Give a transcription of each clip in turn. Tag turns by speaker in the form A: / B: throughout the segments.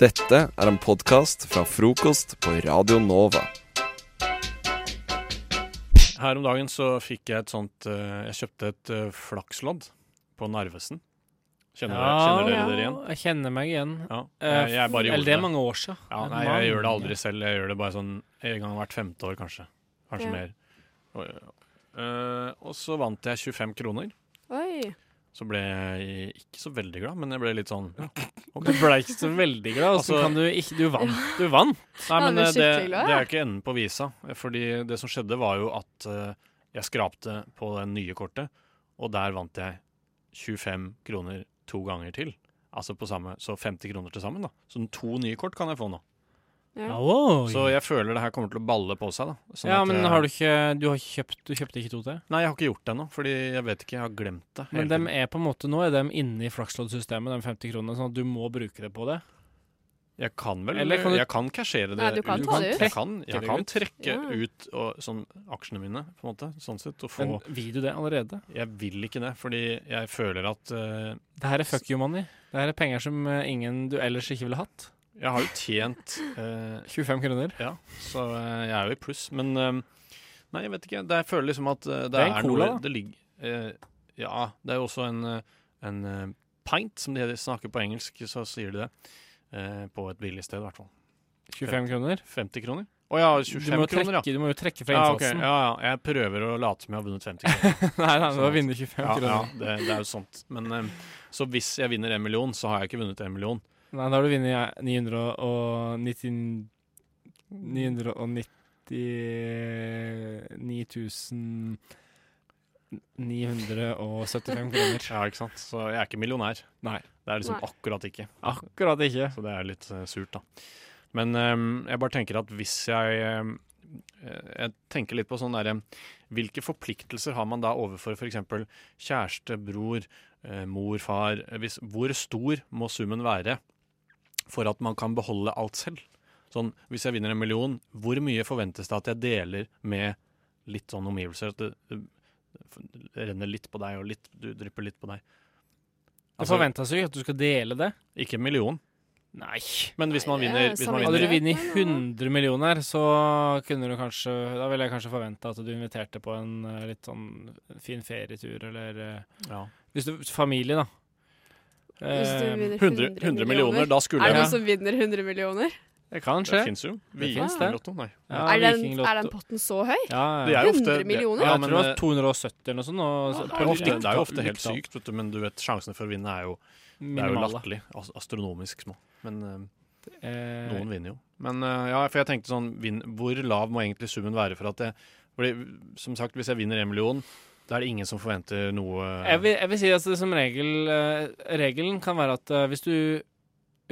A: Dette er en podkast fra frokost på Radio Nova.
B: Her om dagen så fikk jeg et sånt eh, Jeg kjøpte et eh, flakslodd på Narvesen. Kjenner, dere, kjenner dere dere igjen?
C: Jeg kjenner meg igjen.
B: Ja.
C: Eh,
B: Jeg, jeg bare gjorde
C: Eller det er mange år siden.
B: Ja,
C: En
B: nei, jeg gjør det
C: mann.
B: aldri selv. Jeg gjør det bare sånn en gang hvert femte år, kanskje. Kanskje
D: Ja.
B: mer. Og, ja. Eh, og så vant jeg 25 kroner.
D: Oi.
B: Så ble jeg ikke så veldig glad, men jeg ble litt sånn ja,
C: Du ble ikke så veldig glad. Altså,
B: Altså-
C: kan du, ikke, du vant. Du vant.
D: Ja,
B: Nei, men
D: det er
B: eh, det,
D: skikkelig glad,
B: det
D: ja.
B: er jo ikke enden på visa. Fordi det som skjedde, var jo at eh, jeg skrapte på det nye kortet, og der vant jeg 25 kroner to ganger til. Altså på samme, Så 50 kroner til sammen, da. Så to nye kort kan jeg få nå.
D: Ja.
B: Så jeg føler det her kommer til å balle på seg, da. Sånn
C: ja,
B: at
C: men
B: jeg-
C: har du ikke Du har ikke kjøpt Du kjøpte ikke to til?
B: Nei, jeg har ikke gjort det ennå, fordi jeg vet ikke. Jeg har glemt det. hele
C: Men dem
B: tiden.
C: er på en måte nå er dem inne i flaksloddsystemet, de 50 kronene, sånn at du må bruke det på det.
B: Jeg kan vel
C: Eller kan du-
B: Jeg kan cashere det
D: Nei, du kan
B: ut.
D: ta det ut.
B: Jeg kan, jeg
C: det
B: kan
C: ut.
B: trekke
D: Ja.
B: ut og, sånn, aksjene mine, på en måte. Sånn sett. Og få
C: Men vil du det allerede?
B: Jeg vil ikke det, fordi jeg føler at eh,
C: Det her er fuck you money. Det her er penger som eh, ingen du ellers ikke ville hatt.
B: Jeg har jo tjent eh,
C: 25 kroner.
B: Ja, så eh, jeg er jo i pluss. Men eh, nei, jeg vet ikke. Det, jeg føler liksom at eh, det,
C: Det er en
B: er
C: cola, da.
B: noe Det ligger eh, Ja, det er jo også en, eh, en eh, pint, som de snakker på engelsk, så sier de det. eh, på et billig sted, i hvert fall.
C: 25 kroner.
B: 50 kroner? Å ja,
C: Du
B: 25
C: må, jo
B: kroner, ja.
C: trekke, du må jo trekke fra
B: Ja, ok.
C: innsatsen.
B: ja, ja. Jeg prøver å late som jeg har vunnet 50 kroner.
C: Nei, nei, du må vinne 25
B: Ja,
C: kroner.
B: ja, det, det er jo sånt. Men, eh, så hvis jeg vinner en million, så har jeg ikke vunnet en million.
C: Nei, da har du vunnet 990 999 975 kroner.
B: Ja, ikke sant? Så jeg er ikke millionær.
C: Nei.
B: Det er liksom
D: Nei.
B: akkurat ikke.
C: Akkurat ikke.
B: Så det er litt eh, surt, da. Men eh, jeg bare tenker at hvis jeg eh, eh, Jeg tenker litt på sånn derre Hvilke forpliktelser har man da overfor f.eks. kjæreste, bror, eh, mor, far? Hvis, hvor stor må summen være for at man kan beholde alt selv? Sånn, Hvis jeg vinner en million, hvor mye forventes det at jeg deler med litt sånn omgivelser? At det, det renner litt på deg, og litt, du drypper litt på deg.
C: Det
B: Altså,
C: forventes jo ikke at du skal dele det.
B: ikke en million,
C: Nei.
B: men hvis
D: Nei,
B: man
D: det er
B: vinner, hvis man
D: sammenlignet.
C: Hadde
B: vinner
C: du vunnet
D: Nei, nei, nei.
C: 100 millioner, så kunne du kanskje Da ville jeg kanskje forventa at du inviterte på en eh, litt sånn fin ferietur, eller eh,
B: ja.
C: Hvis du Familie, da.
D: Hvis du
C: Eh,
D: vinner
B: 100, 100 millioner, da skulle
D: Er det
B: jeg
D: noen som vinner 100 millioner?
C: det kan
B: Det
C: skje.
B: fins jo. Vi
C: Det finnes
B: gir
C: det.
B: Lotto, nei.
C: Ja,
D: er, den,
C: Vikinglotto.
D: er den potten så høy?
C: ja, ja.
B: Det er jo ofte-
D: 100 millioner?
B: Ja,
C: Ja, jeg
B: men,
C: tror det
B: eh,
C: var 270 eller noe sånt. Og, så-
B: det er jo ofte, det er jo ofte helt
C: lyktall.
B: sykt, vet du, men du vet, sjansene for å vinne er jo, det er jo
C: Minimale.
B: latterlig. as- Astronomisk små. Men eh,
C: Eh,
B: noen vinner jo. Men eh, ja, for jeg tenkte sånn vinn- Hvor lav må egentlig summen være for at det fordi, Som sagt, hvis jeg vinner en million, da er det ingen som forventer noe
C: jeg, vil, jeg vil si at det som regel eh, Regelen kan være at eh, hvis du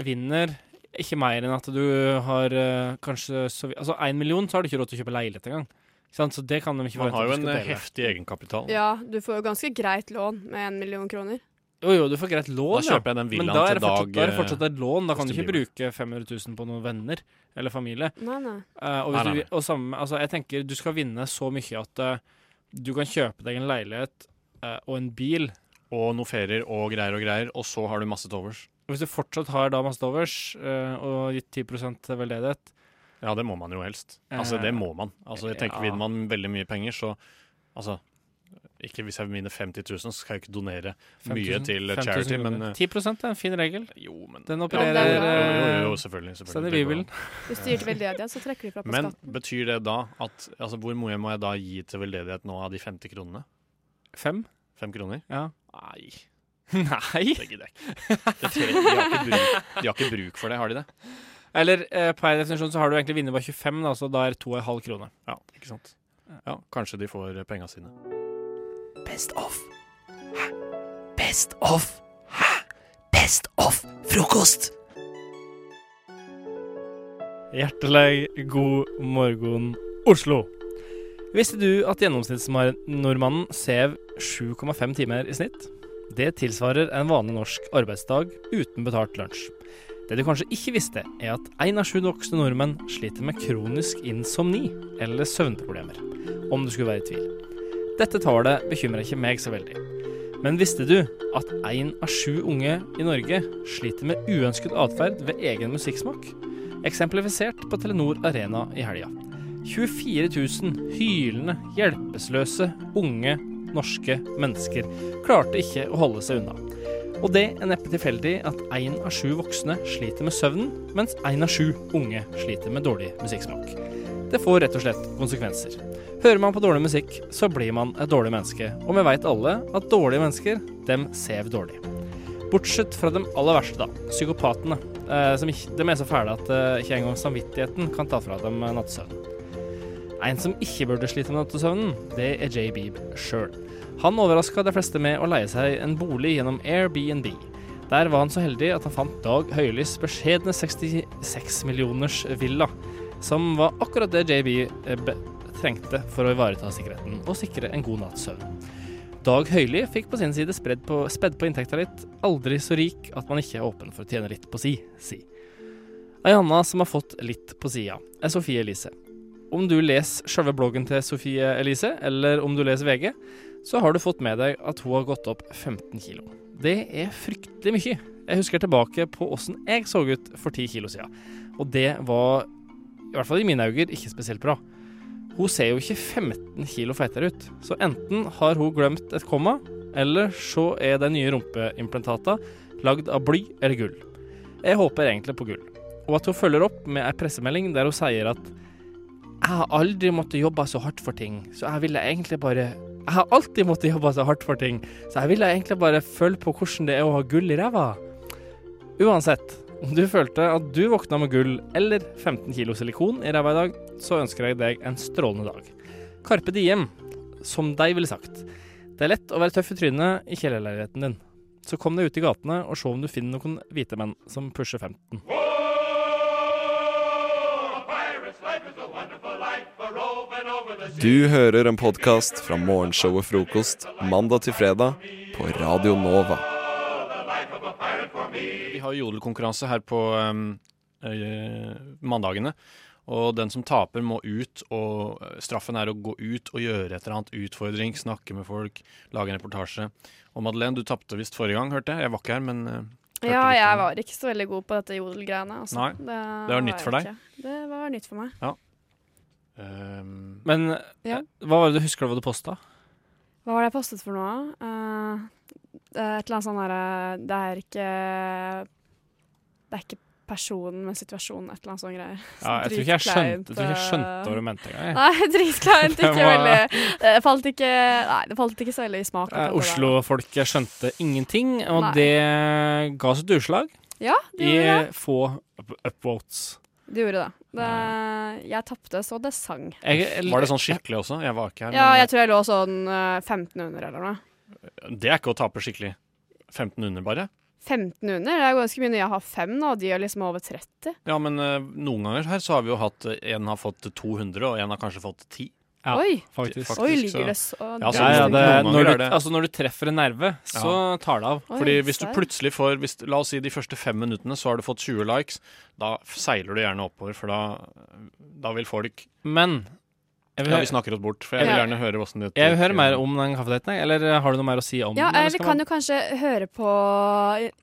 C: vinner ikke mer enn at du har eh, kanskje så, vi- Altså én million, så har du ikke råd til å kjøpe leilighet engang. Ikke sant? Så det kan de ikke
B: Man
C: forvente.
B: har jo
C: at
B: en
C: du skal
B: eh,
C: dele.
B: heftig egenkapital.
D: Ja, du får jo ganske greit lån med en million kroner.
C: Jo, jo, du får greit
B: Da
C: lån, ja.
B: kjøper jeg den
C: Men
B: villaen
C: da er,
B: til
C: det fortsatt,
B: dag
C: da er det
B: eh,
C: fortsatt et lån. Da kan du
B: Justin
C: ikke bruke 500 000 på noen venner eller familie.
D: Nei, nei.
C: Eh, og, hvis
B: Nei, nei,
C: du, og samme, altså, jeg tenker du skal vinne så mye at eh, du kan kjøpe deg en leilighet eh, og en bil.
B: og noe ferier og greier og greier, og så har du masse til overs.
C: Og hvis du fortsatt har da masse til overs, eh, og gitt 10 til veldedighet
B: Ja, det må man jo helst. Altså,
C: Eh,
B: det må man. Altså, jeg tenker
C: ja.
B: Vinner man veldig mye penger, så Altså, ikke hvis jeg vinner 50 000, så skal jeg ikke donere
C: 5 000
B: mye til
C: 5 000
B: charity, men
C: kroner.
B: eh,
C: 10 er en fin regel.
B: Jo, men
C: Den
D: Ja,
C: opererer
D: den er-
B: jo, jo, jo, jo,
C: eh,
B: selvfølgelig. selvfølgelig
C: Står i
B: det går
C: Bibelen.
B: an.
D: Hvis du gir til veldedighet, så trekker de fra på
B: Men
D: skatt.
B: betyr det da at Altså, hvor mye må jeg da gi til veldedighet nå av de 50 kronene?
C: Fem?
B: Fem kroner?
C: Ja.
B: Nei, det
C: Nei!
B: gidder jeg ikke. Det tre- de, har ikke bruk, de har ikke bruk for det, har de det?
C: Eller eh, per definisjon så har du egentlig vunnet bare 25, da, så da er 2,5 kroner.
B: Ja, ikke sant. Ja, kanskje de får penga sine.
E: Best of. Hæ? Best of. Hæ? Best of frokost.
C: Hjertelig god morgen, Oslo. Visste du at gjennomsnittsnordmannen sev 7,5 timer i snitt? Det tilsvarer en vanlig norsk arbeidsdag uten betalt lunsj. Det du kanskje ikke visste, er at én av sju voksne nordmenn sliter med kronisk insomni eller søvnproblemer, om du skulle være i tvil. Dette tallet bekymrer ikke meg så veldig. Men visste du at én av sju unge i Norge sliter med uønsket atferd ved egen musikksmak? Eksemplifisert på Telenor Arena i helga. 24 000 hylende, hjelpeløse, unge norske mennesker klarte ikke å holde seg unna. Og det er neppe tilfeldig at én av sju voksne sliter med søvnen, mens én av sju unge sliter med dårlig musikksmak. Det får rett og slett konsekvenser. Hører man på dårlig musikk, så blir man et dårlig menneske. Og vi veit alle at dårlige mennesker, dem sev dårlig. Bortsett fra de aller verste, da. Psykopatene. Eh, som ikke, de er så fæle at eh, ikke engang samvittigheten kan ta fra dem eh, nattesøvnen. En som ikke burde slite med nattesøvnen, det er Jay Beebe sjøl. Han overraska de fleste med å leie seg en bolig gjennom Airbnb. Der var han så heldig at han fant Dag Høilis beskjedne 66 millioners villa, som var akkurat det JB eh, be- trengte for å ivareta sikkerheten og sikre en god natts søvn. Dag Høili fikk på sin side spredd på, spedd på inntekta litt, aldri så rik at man ikke er åpen for å tjene litt på si, si. Ei anna som har fått litt på sida, er Sofie Elise. Om du leser sjølve bloggen til Sofie Elise, eller om du leser VG, så har du fått med deg at hun har gått opp 15 kilo. Det er fryktelig mye. Jeg husker tilbake på åssen jeg så ut for 10 kilo siden, og det var, i hvert fall i mine øyne, ikke spesielt bra. Hun ser jo ikke 15 kilo feitere ut, så enten har hun glemt et komma, eller så er de nye rumpeimplantatene lagd av bly eller gull. Jeg håper egentlig på gull, og at hun følger opp med ei pressemelding der hun sier at jeg har aldri måttet jobbe så hardt for ting, så jeg ville egentlig bare Jeg har alltid måttet jobbe så hardt for ting, så jeg ville egentlig bare følge på hvordan det er å ha gull i ræva. Uansett, om du følte at du våkna med gull eller 15 kilo silikon i ræva i dag, så ønsker jeg deg en strålende dag. Carpe diem, som deg ville sagt. Det er lett å være tøff i trynet i kjellerleiligheten din. Så kom deg ut i gatene og se om du finner noen hvite menn som pusher 15.
A: Du hører en podkast fra morgenshowet Frokost mandag til fredag på Radio Nova.
B: Vi har jo jodelkonkurranse her på um, eh, mandagene. Og den som taper, må ut. Og eh, straffen er å gå ut og gjøre et eller annet. Utfordring, snakke med folk, lage en reportasje. Og Madeleine, du tapte visst forrige gang, hørte jeg. Jeg var ikke her, men eh, hørte
D: Ja,
B: litt
D: jeg
B: om-
D: var ikke så veldig god på dette jodelgreiene. Altså.
B: Nei,
D: det,
B: var nytt
D: jeg
B: for deg.
D: ikke. Det var nytt for meg.
B: Ehm,
C: Men
D: Ja.
C: eh, hva var det du husker du hva du posta?
D: Hva var det jeg postet for noe? Eh, det er et eller annet sånn herre Det er ikke Det er ikke personen, men situasjonen. Et eller annet sånn greier.
C: Ja, jeg tror ikke jeg
D: Dritkleint, eh.
C: skjønte, jeg tror ikke jeg skjønte hva du mente engang. jeg.
D: Nei, dritkleint.
C: Det
D: Ikke
C: var-
D: veldig Det falt ikke Nei, det falt ikke så veldig i smak.
C: Eh,
D: akkurat det der.
C: Oslo-folket skjønte ingenting, og
D: Nei.
C: det ga sitt utslag
D: Ja, det
C: i
D: gjorde det.
C: få up upvotes.
D: Det gjorde det. det jeg tapte så det sang.
C: Jeg-
B: var det sånn skikkelig også? Jeg var ikke her.
D: Ja,
B: men, eh,
D: jeg tror jeg lå sånn eh, 1500 eller noe.
B: Det er ikke å tape skikkelig. 1500, bare.
D: 1500? Det er ganske mye når jeg har fem nå, og de er liksom over 30.
B: Ja, men eh, noen ganger her så har vi jo hatt eh, En har fått 200, og en har kanskje fått 10.
C: Ja.
D: Oi,
C: Faktisk.
B: Faktisk,
D: oi,
B: så-
D: ligger det så
B: Ja, altså,
C: Ja, ja,
B: noen
C: det,
B: ganger
C: når,
B: er
C: du,
B: det-
C: altså når du treffer en nerve, så tar det av.
D: Oi,
B: Fordi hvis du
D: serr.
B: plutselig får hvis, La oss si de første fem minuttene så har du fått 20 likes. Da f- seiler du gjerne oppover, for da, da vil folk
C: Men jeg vil,
B: Ja, vi
C: hø-
B: snakker oss bort, for jeg vil
D: Ja.
B: gjerne høre hvordan det
C: jeg vil høre mer om den kaffedaten, jeg. eller eh, har du noe mer å si om
D: Ja,
C: den? eller
D: eller
C: skal
D: kan
C: man-
D: du kanskje høre på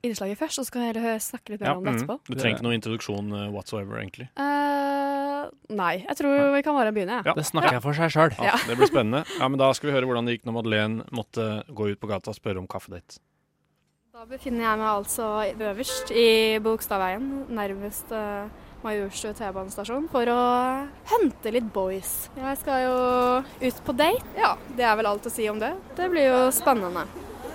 D: innslaget først, og så kan jeg heller hø- snakke litt mer
C: Ja,
D: om det
B: mm,
D: etterpå?
B: Du trenger ikke noe introduksjon eh, whatsoever, egentlig.
D: Eh, nei, jeg tror vi kan bare begynne, jeg.
B: Ja.
C: Det snakker jeg for seg sjøl.
B: Ja, Det blir spennende. Ja, men Da skal vi høre hvordan det gikk når Madeleine måtte gå ut på gata og spørre om kaffedate.
F: Da befinner jeg meg altså øverst i Bogstadveien, nærmest eh, Majorstuen T-banestasjon, for å hente litt boys. Jeg skal jo ut på date. Ja, det er vel alt å si om det. Det blir jo spennende.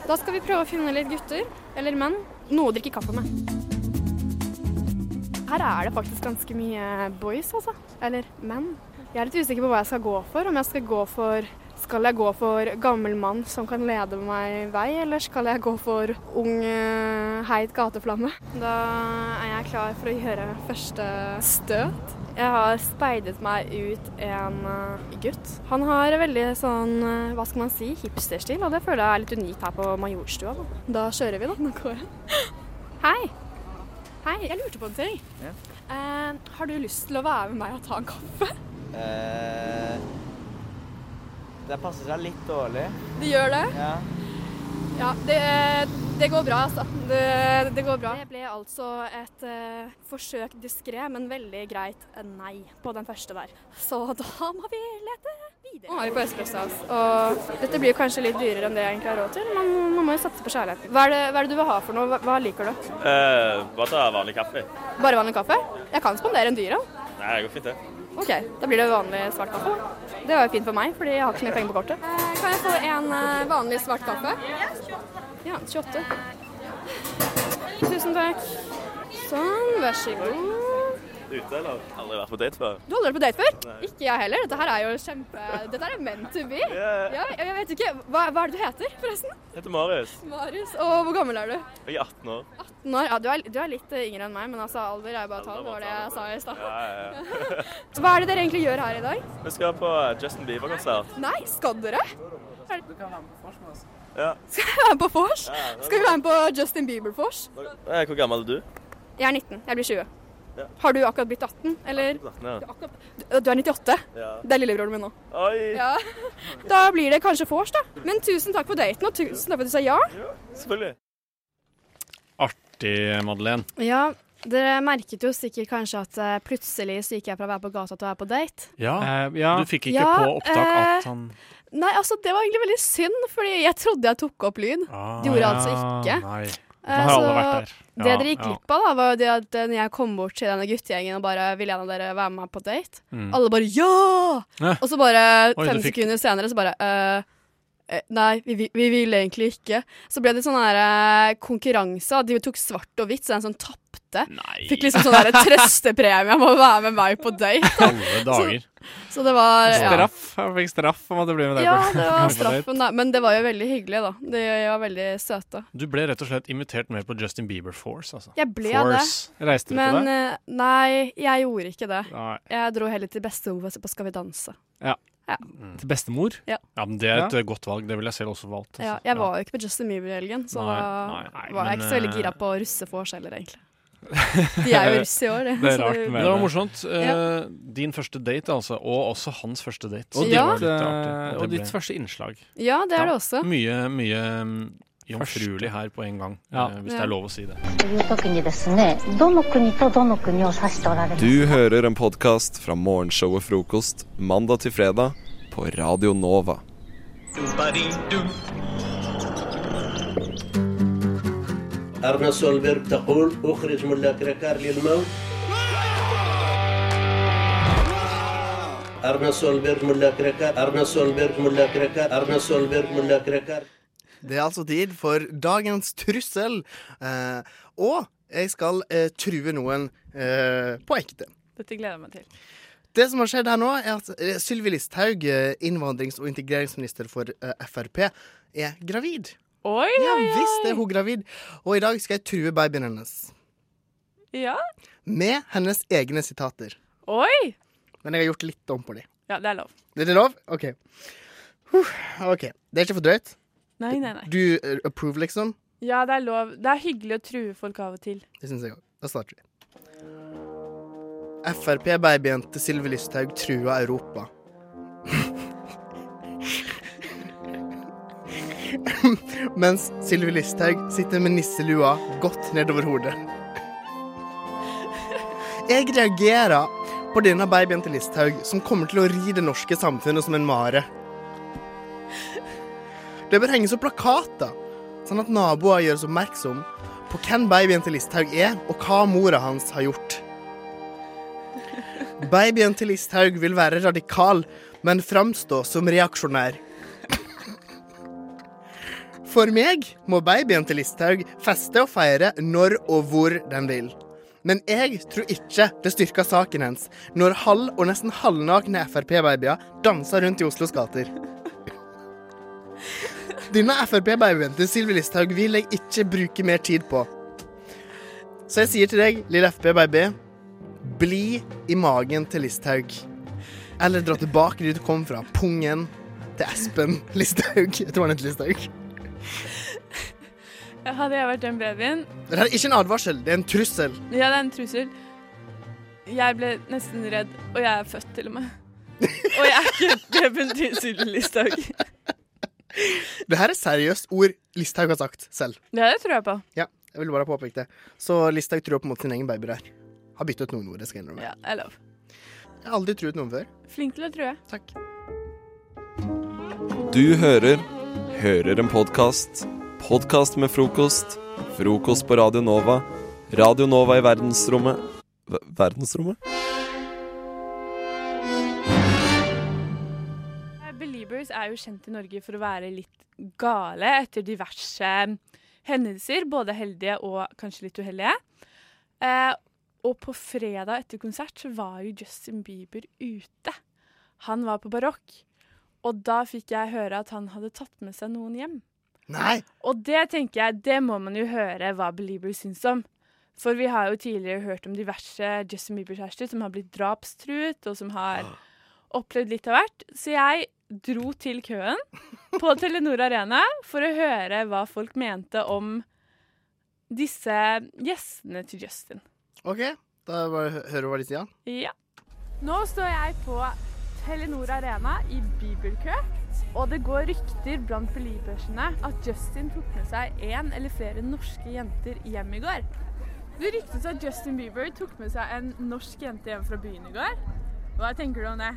F: Da skal vi prøve å finne litt gutter, eller menn, noe å drikke kaffe med. Her er det faktisk ganske mye boys, altså. Eller menn. Jeg er litt usikker på hva jeg skal gå for. Om jeg skal gå for Skal jeg gå for gammel mann som kan lede meg vei, eller skal jeg gå for ung, eh, heit gateflamme? Da er jeg klar for å gjøre første støt. Jeg har speidet meg ut en eh, gutt. Han har veldig sånn, eh, hva skal man si, hipsterstil, og det føler jeg er litt unikt her på Majorstua. Da, da kjører vi, da. Nå går jeg. Hei. Hei, jeg lurte på en ting. Eh, har du lyst til å være med meg og ta en kaffe?
G: Eh, det passer seg litt dårlig.
F: Det gjør det?
G: Ja.
F: Ja, det, det går bra, altså. Det, det går bra. Det ble altså et eh, forsøk diskré, men veldig greit eh, nei på den første der. Så da må vi lete videre. Nå er vi på Espressos, og dette blir jo kanskje litt dyrere enn det jeg egentlig har råd til, men man må jo satse på kjærligheten. Hva er det, hva er det du vil ha for noe? Hva, hva liker du?
G: Eh, bare ta vanlig kaffe.
F: Bare vanlig kaffe? Jeg kan spandere en dyr, ja.
G: Nei, det går fint, det.
F: Ok, da blir det vanlig svart kaffe. da. Det var jo fint for meg, fordi jeg har ikke så mye penger på kortet. Eh, Kan jeg få en eh, vanlig svart kaffe? Ja, 28. Tusen takk. Sånn, vær så god.
G: Ute, eller? Aldri vært på date før.
F: Du har aldri vært på date før? Ikke jeg heller. Dette her er jo kjempe... Dette her er meant to be. Ja, jeg jeg vet ikke. Hva, hva er det du heter, forresten?
G: Jeg heter Marius.
F: Marius. Og hvor gammel er du?
G: Jeg er 18 år.
F: Når, ja, du, er, du er litt eh, yngre enn meg, men altså alder er jo bare tall. Det var det jeg sa i stad.
G: Ja, ja, ja.
F: Hva er det dere egentlig gjør her i dag?
G: Vi skal på eh, Justin Bieber-konsert.
F: Nei, skal dere?
G: Ja.
F: Skal jeg være med på vors? Skal vi være med på Justin Bieber-vors?
G: Eh, Hvor gammel er du?
F: Jeg er 19. Jeg blir 20.
G: Ja.
F: Har du akkurat blitt 18, eller?
G: 18, ja.
F: Du du er 98.
G: ja.
F: Det er lillebroren min nå.
G: Oi!
F: Ja. Da blir det kanskje vors, da. Men tusen takk for daten, og tusen takk for at du sa ja.
G: Selvfølgelig.
B: Artig, Madeleine.
D: Ja, dere merket jo sikkert kanskje at eh, plutselig så gikk jeg fra å være på gata til å være på date.
B: Ja.
C: Eh, ja.
B: Du fikk ikke
D: Ja,
B: på opptak
D: eh,
B: at han
D: Nei, altså, det var egentlig veldig synd, fordi jeg trodde jeg tok opp lyd.
B: ah,
D: Det gjorde jeg altså ikke.
B: Nei.
E: Eh,
C: Man har alle vært der.
D: Altså, Det dere gikk glipp av, da, var jo det at eh, når jeg kom bort til denne guttegjengen og bare ville en av dere være med meg på date,
B: Mm.
D: alle bare 'ja!'
B: Ja.
D: Og så bare
B: Oi,
D: fem
B: du fikk-
D: sekunder senere så bare «Eh, eh, Nei, vi, vi, vi ville egentlig ikke. Så ble det sånn her eh, konkurranse. at De tok svart og hvitt, så den som tapte,
B: Nei,
D: fikk liksom sånn her trøstepremie om å være med meg på date.
B: alle dager.
D: Så det var ja.
C: Straff. Jeg fikk straff om at det blir med deg.
D: ja,
C: på-
D: det var
C: på date.
D: straffen, da. Men det var jo veldig hyggelig, da. De var veldig søte.
B: Du ble rett og slett invitert med på Justin Bieber Force, altså.
D: Jeg ble
B: Force.
C: Reiste
D: det.
C: du på
D: Men
C: det?
D: eh, nei, jeg gjorde ikke det.
C: Nei.
D: Jeg dro heller til bestemor for å se på Skal vi danse.
C: Til bestemor?
B: Mm. Ja, men Det er et eh, godt valg. Det ville jeg selv også valgt.
D: Ja,
B: altså.
D: jeg var jo ikke på Justin Bieber i helgen, så
B: Nei,
D: da
B: nei,
D: var jeg
B: men,
D: ikke så veldig
B: eh,
D: gira på russefors heller, egentlig. De er jo russ i år, det.
C: Det er
D: så
C: rart
D: det-
C: med-
B: Men det var morsomt. Eh, Din første date, altså. Og også hans første date.
C: Og,
B: Så
D: Ja.
B: det var
C: ditt,
B: litt artig.
C: eh, og
B: det
C: ditt første innslag.
D: Ja, det er
B: Ja.
D: det også.
B: Mye, mye mm, jomfruelig her på en gang,
C: Ja.
B: eh, hvis
D: Ja.
B: det er lov å si det.
H: という時にですねどの国とどの国を指しておられます
A: Du hører en podkast fra morgenshow og frokost mandag til fredag på Radio Nova.
I: أرنا سولبيرغ تقول أخرج من الكركار للموت أرنا سولبيرغ من الكركار أرنا سولبيرغ من الكركار أرنا سولبيرغ من الكركار
J: Det er altså tid for dagens trussel. Eh, og jeg skal eh, true noen eh, på ekte.
K: Dette gleder jeg meg til.
J: Det som har skjedd her nå, er at eh, Sylvi Listhaug, eh, innvandrings- og integreringsminister for eh, Frp, er gravid.
K: Oi,
J: Ja
K: oi,
J: visst er hun gravid. Og i dag skal jeg true babyen hennes.
K: oi. Ja.
J: Med hennes egne sitater.
K: Oi!
J: Men jeg har gjort litt om på dem.
K: Ja, det er lov.
J: Er det lov? OK. Huh, OK. Det er ikke for drøyt?
K: Nei, nei, nei.
J: Du eh, approve, liksom?
K: Ja, det er lov. Det er hyggelig å true folk av og til.
J: Det syns jeg òg. Da starter vi. Frp-babyen til Sylvi Listhaug trua Europa. Mens Sylvi Listhaug sitter med nisselua godt nedover hodet. Jeg reagerer på denne babyen til Listhaug, som kommer til å ri det norske samfunnet som en mare. Det bør henges opp plakater, sånn at naboer gjøres oppmerksom på hvem babyen til Listhaug er, og hva mora hans har gjort. Babyen til Listhaug vil være radikal, men framstå som reaksjonær. For meg må babyen til Listhaug feste og feire når og hvor den vil. Men jeg tror ikke det styrker saken hennes når halv- og nesten halvnakne Frp-babyer danser rundt i Oslos gater. Denne Frp-babyen til Sylvi Listhaug vil jeg ikke bruke mer tid på. Så jeg sier til deg, lille Frp-baby, bli i magen til Listhaug. Eller dra tilbake dit du kom fra, pungen til Espen Listhaug. Jeg tror han heter Listhaug.
K: Hadde jeg vært den babyen
J: Dette er ikke en advarsel, det er en trussel.
K: Ja, det er en trussel. Jeg ble nesten redd, og jeg er født til og med. Og jeg er ikke babyen til Sylvi Listhaug.
J: Det her er seriøst ord Listhaug har sagt selv.
K: Ja, det tror jeg på.
J: Ja, jeg ville bare påpeke det. Så Listhaug tror på en måte sin egen baby der. Har byttet noen ord, det skal jeg innrømme.
K: Ja, jeg lov.
J: Jeg har aldri truet noen før.
K: Flink til å true.
J: Takk.
A: Du hører Hører en podkast. Podkast med frokost. Frokost på Radio Nova. Radio Nova i verdensrommet Ver- Verdensrommet?
K: Beliebers Eh, er jo kjent i Norge for å være litt gale etter diverse hendelser, både heldige og kanskje litt uheldige. Eh, og på fredag etter konsert så var jo Justin Bieber ute. Han var på barokk. Og da fikk jeg høre at han hadde tatt med seg noen hjem.
J: Nei!
K: Og det tenker jeg, det må man jo høre hva Beliebers syns om. For vi har jo tidligere hørt om diverse Justin Bieber-kjærester som har blitt drapstruet, og som har opplevd litt av hvert. Så jeg dro til køen på Telenor Arena for å høre hva folk mente om disse gjestene til Justin.
J: OK, da bare hø- hører du hva de sier.
K: Ja. Nå står jeg på Telenor Arena i bibelkø, og det går rykter blant beliebersene at Justin tok med seg én eller flere norske jenter hjem i går. Det ryktes at Justin Bieber tok med seg en norsk jente hjem fra byen i går. Hva tenker du om det?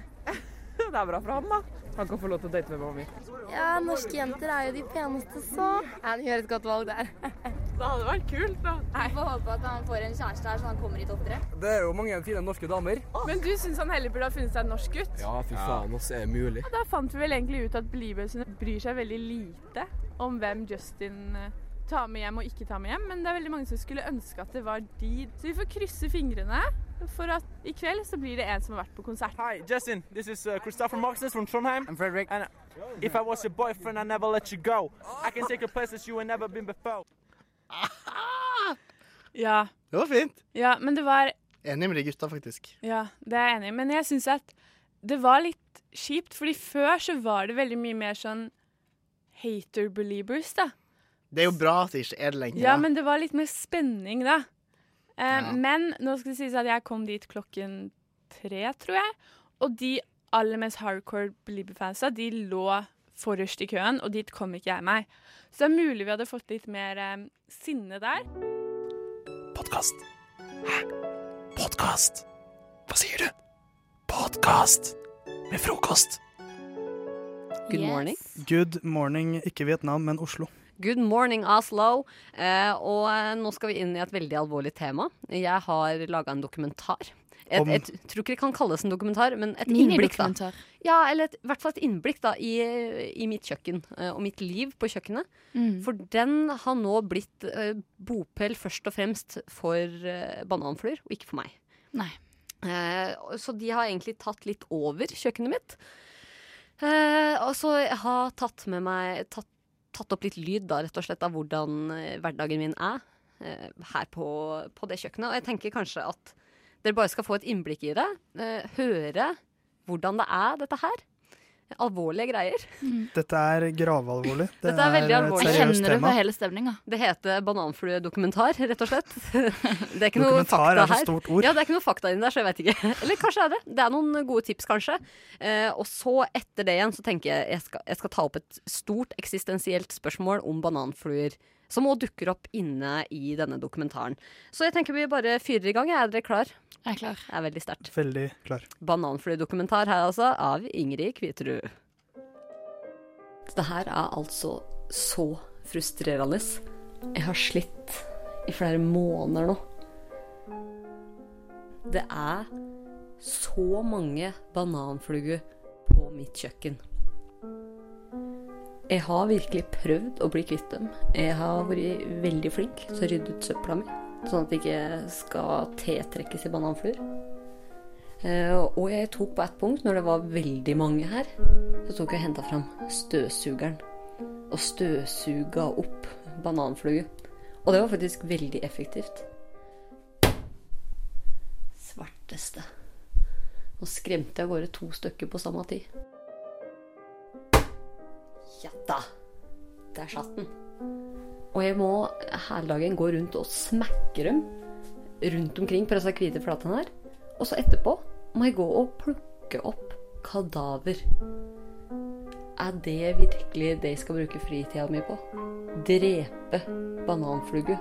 K: det er bra for ham, da.
L: Han kan få lov til å date med mamma mi.
M: Ja, norske jenter er jo de peneste, så. Han gjør et godt valg der.
K: Det hadde vært kult, da.
M: Jeg får håpe at han får en kjæreste her, så han kommer hit oftere.
L: Det er jo mange fine norske damer.
K: Men du syns han heller burde ha funnet seg en norsk gutt?
L: Ja, fy faen, oss er det mulig.
K: Da fant vi vel egentlig ut at Beliebersene bryr seg veldig lite om hvem Justin eh, tar med hjem og ikke tar med hjem, men det er veldig mange som skulle ønske at det var de. Så vi får krysse fingrene for at i kveld så blir det en som har vært på konsert.
N: Hi, Justin. This is uh, Christopher Marxus from Trondheim. I'm Frederick. And uh, if I was your boyfriend, I'd never let you go. I can take you places you ain't never been before.
K: Ja,
J: Det var fint.
K: ja, men det var
J: Enig med de gutta, faktisk.
K: Ja, det er jeg enig i. Men jeg syns at det var litt kjipt, fordi før så var det veldig mye mer sånn hater beliebers, da.
J: Det er jo bra at det ikke er det lenger.
K: Ja, men det var litt mer spenning, da. Eh,
J: Ja.
K: Men nå skal det sies at jeg kom dit klokken tre, tror jeg. Og de aller mest hardcore Belieber-fansa, de lå forrest i køen, og dit kom ikke jeg meg. Så det er mulig vi hadde fått litt mer eh, sinne der.
E: Podkast. Hæ? Podkast? Hva sier du? Podkast med frokost.
O: Good morning.
P: Good morning, ikke Vietnam, men Oslo.
O: Good morning, Oslo. Eh, og eh, nå skal vi inn i et veldig alvorlig tema. Jeg har laga en dokumentar. Et,
P: Om-
O: et, tror ikke det kan kalles en dokumentar, men et innblikk. da
P: Minidokumentar.
O: Ja, eller et, i hvert fall et innblikk da i, i mitt kjøkken eh, og mitt liv på kjøkkenet.
P: Mm.
O: For den har nå blitt eh, bopel først og fremst for eh, bananfluer, og ikke for meg.
M: Nei.
O: Eh, og- så de har egentlig tatt litt over kjøkkenet mitt. Eh, og så jeg har tatt med meg tatt, tatt opp litt lyd da, rett og slett av hvordan eh, hverdagen min er eh, her på, på det kjøkkenet. Og jeg tenker kanskje at dere bare skal få et innblikk i det. Eh, høre hvordan det er, dette her. Alvorlige greier.
P: Dette er gravalvorlig. Det
O: Dette er veldig
P: et
O: alvorlig.
P: seriøst tema.
O: stemninga. Det heter bananfluedokumentar, rett og slett. Det er ikke noe
P: Dokumentar
O: fakta
P: er så
O: her.
P: stort ord.
O: Ja, det er ikke noe fakta inni der, så jeg veit ikke. Eller kanskje er det. Det er noen gode tips, kanskje. Eh, og så, etter det igjen, så tenker jeg jeg skal, jeg skal ta opp et stort eksistensielt spørsmål om bananfluer. Som òg dukker opp inne i denne dokumentaren. Så jeg tenker vi bare fyrer i gang. Er dere klar? Jeg er klar. Det er veldig sterkt.
P: Veldig klar.
O: Bananfluedokumentar her, altså, av Ingrid Kviterud. Det her er altså så frustrerende. Jeg har slitt i flere måneder nå. Det er så mange bananfluer på mitt kjøkken. Jeg har virkelig prøvd å bli kvitt dem. Jeg har vært veldig flink til å rydde ut søpla mi, sånn at det ikke skal tiltrekkes i bananfluer. Eh, og jeg tok på ett punkt, når det var veldig mange her, så tok jeg og henta fram støvsugeren. Og støvsuga opp bananfluer. Og det var faktisk veldig effektivt. Svarteste. Nå skremte jeg av gårde to stykker på samme tid. Ja da! Der satt den. Og jeg må hele dagen gå rundt og smekke dem rundt omkring på disse hvite flatene her. Og så etterpå må jeg gå og plukke opp kadaver.
Q: Er det virkelig det jeg skal bruke fritida mi på? Drepe bananflugu?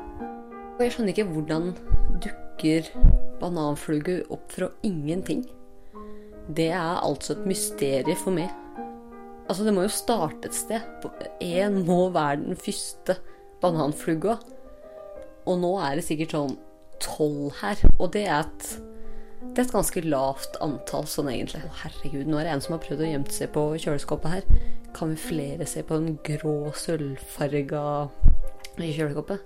Q: Og jeg skjønner ikke hvordan dukker bananflugu opp fra ingenting. Det er altså et mysterium for meg. Altså, det må jo starte et sted. Én må være den første bananflugga. Og nå er det sikkert sånn tolv her, og det er et det er et ganske lavt antall sånn egentlig. Å, herregud, nå er det en som har prøvd å gjemme seg på kjøleskapet her. Kamuflere seg på en grå, sølvfarga i kjøleskapet.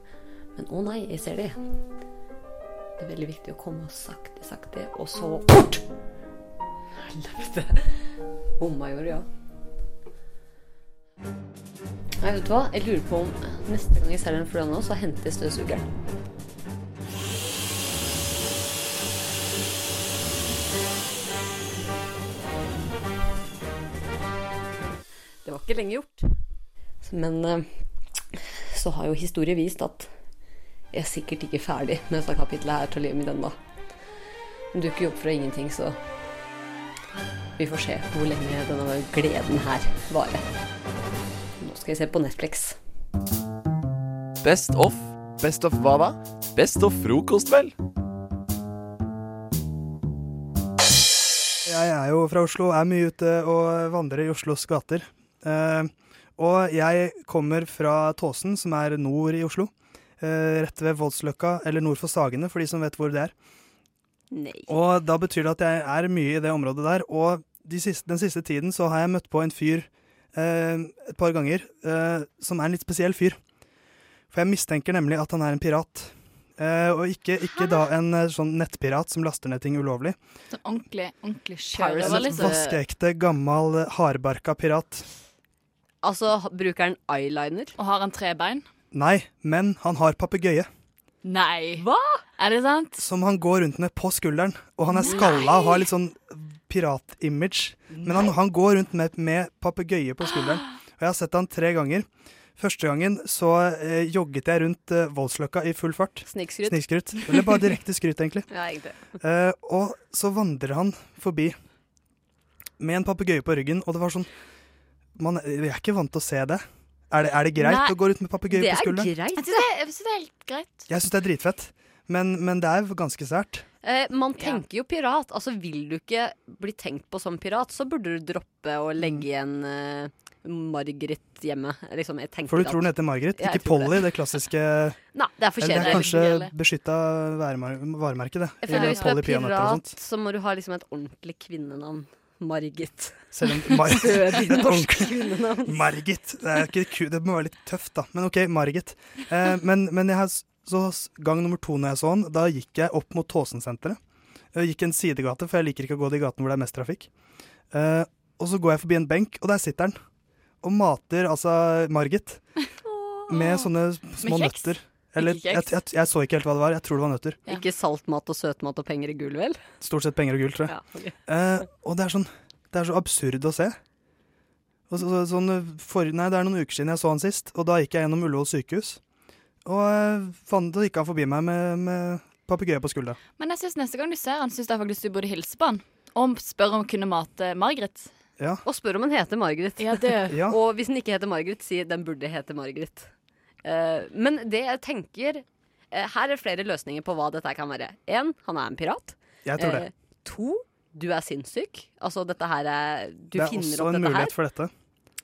Q: Men å nei, jeg ser det. Det er veldig viktig å komme sakte, sakte, og så fort! Helvete. Bomma gjorde, ja. Nei, vet du hva? Jeg lurer på om neste gang jeg selger en flue nå, så henter jeg støvsugeren.
O: Det var ikke lenge gjort.
Q: Men eh, så har jo historie vist at jeg er sikkert ikke ferdig med dette kapitlet her til å livet mitt ennå. Den dukker jo opp fra ingenting, så vi får se hvor lenge denne gleden her varer. Nå skal jeg se på Netflix.
A: Best of.
J: Best of hva da?
A: Best of frokost, vel?
P: Jeg er jo fra Oslo, er mye ute og vandrer i Oslos gater. Eh, og jeg kommer fra Tåsen, som er nord i Oslo. Eh, rett ved Voldsløkka, eller nord for Sagene, for de som vet hvor det er.
O: Nei.
P: Og da betyr det at jeg er mye i det området der. Og de siste, den siste tiden så har jeg møtt på en fyr eh, et par ganger, eh, som er en litt spesiell fyr. For jeg mistenker nemlig at han er en pirat. Eh, og ikke, ikke da en eh, sånn nettpirat som laster ned ting ulovlig.
R: Sånn ordentlig, ordentlig
O: Pirate
R: sjørøver,
P: En
R: liksom.
P: vaskeekte, gammel, eh, hardbarka pirat.
O: Altså, ha- bruker han eyeliner?
R: Og har han trebein?
P: Nei, men han har papegøye.
R: Nei. Hva? Er det sant?
P: Som han går rundt med på skulderen. Og han er
R: Nei.
P: skalla og har litt sånn piratimage. Men han, han går rundt med, med papegøye på skulderen. Og jeg har sett han tre ganger. Første gangen så eh, jogget jeg rundt eh, Voldsløkka i full fart.
O: Snikskryt.
P: Snikskryt. Eller bare direkte skryt, egentlig.
O: Ja, egentlig.
P: Eh, og så vandrer han forbi med en papegøye på ryggen, og det var sånn man, Jeg er ikke vant til å se det. Er det, er det greit
R: Nei,
P: å gå rundt med papegøye på skulderen?
R: Jeg syns det, jeg synes det er helt greit.
P: Jeg syns det er dritfett, men, men det er ganske sært.
O: Eh, man tenker jo pirat. Altså, vil du ikke bli tenkt på som pirat, så burde du droppe å
Q: Mm.
O: legge igjen eh, Margrit hjemme. Liksom, jeg tenker
P: For du tror den heter Margaret,
O: Ja, jeg
P: ikke
O: tror det.
P: Polly, det. klassiske
O: Nei, det er for
P: Eller det er
O: kjedelig.
P: kanskje
O: Det er litt
P: beskytta varemer- varemerke, det.
O: Jeg føler
P: Eller
O: Hvis du er
P: Polly peanøtter og sånt.
O: pirat, så må du ha liksom et ordentlig kvinnenavn. Margit.
P: Selv om Mar
O: Sødig
P: Et
O: norsk
P: ordentlig-
O: kvinnenavn.
P: Margit. Det, er ikke ku det må være litt tøft, da. Men OK, Margit. Eh, men, men jeg har s- så s- gang nummer to når jeg så han, da gikk jeg opp mot Tåsensenteret. Jeg gikk en sidegate, for jeg liker ikke å gå de gatene hvor det er mest trafikk. Eh, og så går jeg forbi en benk, og der sitter han. Og mater altså Margit med sånne små
O: Med kjeks?
P: nøtter. Eller
O: Ikke
P: jeg,
O: kjeks.
P: jeg, jeg så ikke helt hva det var. Jeg tror det var nøtter.
O: Ikke saltmat og søtmat og penger i gull, vel?
P: Stort sett penger og gull, tror jeg. Eh, og det er sånn Det er så absurd å se. Og så, så, sånn, for, nei, det er noen uker siden jeg så han sist, og da gikk jeg gjennom Ullevål sykehus. Og eh, faen, da gikk han forbi meg med, med papegøye på skuldra.
R: Men jeg synes neste gang du ser han, synes jeg faktisk du burde hilse på han. Og spørre om hun kunne mate Margrit.
P: Ja.
O: Og spør om hun heter Margaret.
P: Ja.
O: Og hvis den ikke heter Margaret, si den burde hete Margaret. Eh, men det jeg tenker eh, Her er flere løsninger på hva dette kan være. Én, han er en pirat.
P: Jeg tror det.
O: Eh, to, du er sinnssyk. Altså, dette her er Du
P: det er
O: finner
P: også
O: opp
P: en
O: dette
P: mulighet
O: her.
P: for dette.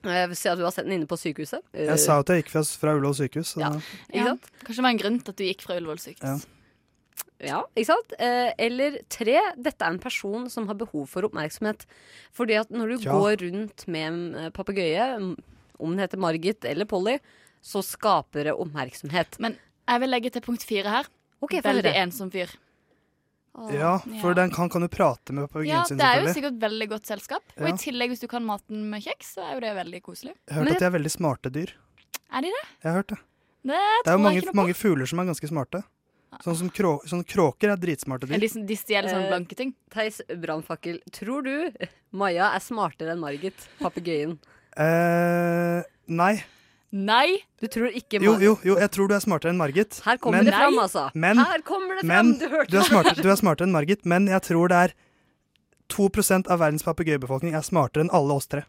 O: Eh, Se at du har sett den inne på sykehuset. Eh,
P: Jeg sa at jeg gikk fra, fra Ullevål sykehus. Så da-
R: Ja. Kanskje det var en grunn til at du gikk fra Ullevål sykehus.
P: ja.
O: Ja, ikke sant? Eh, eller tre, dette er en person som har behov for oppmerksomhet. Fordi at når du
R: Ja.
O: går rundt med en eh, papegøye, m- om den heter Margit eller Polly, så skaper det oppmerksomhet.
R: Men jeg vil legge til punkt fire her.
O: Ok, få
R: Veldig
O: høre.
R: ensom fyr.
P: ja, for
R: Ja.
P: den kan, kan jo prate med
R: Ja,
P: papegøyen sin,
R: det er jo
P: selvfølgelig.
R: sikkert veldig godt selskap. Og
P: Ja.
R: i tillegg, hvis du kan mate den med kjeks, så er jo det veldig koselig.
P: Jeg har hørt at de er veldig smarte dyr.
R: Er de det?
P: Jeg har hørt det.
R: Det,
P: Det er jo
R: tror jeg
P: mange,
R: ikke noe
P: mange fugler som er ganske smarte. Sånn som krå, sånn kråker er dritsmarte dyr.
R: de stjeler sånne blanke ting.
O: Eh, Theis brannfakkel, tror du Maja er smartere enn Margit, papegøyen?
P: Eh, nei.
R: Nei.
O: Du tror ikke
P: Jo,
O: Mar-
P: jo, jo, jeg tror du er smartere enn Margit.
O: Her kommer det fram, altså.
P: Men,
O: Her kommer det fram,
P: men,
O: du hørte
P: er
O: det.
P: smartere, du er smartere enn Margit, men jeg tror det er 2 av verdens papegøyebefolkning er smartere enn alle oss tre.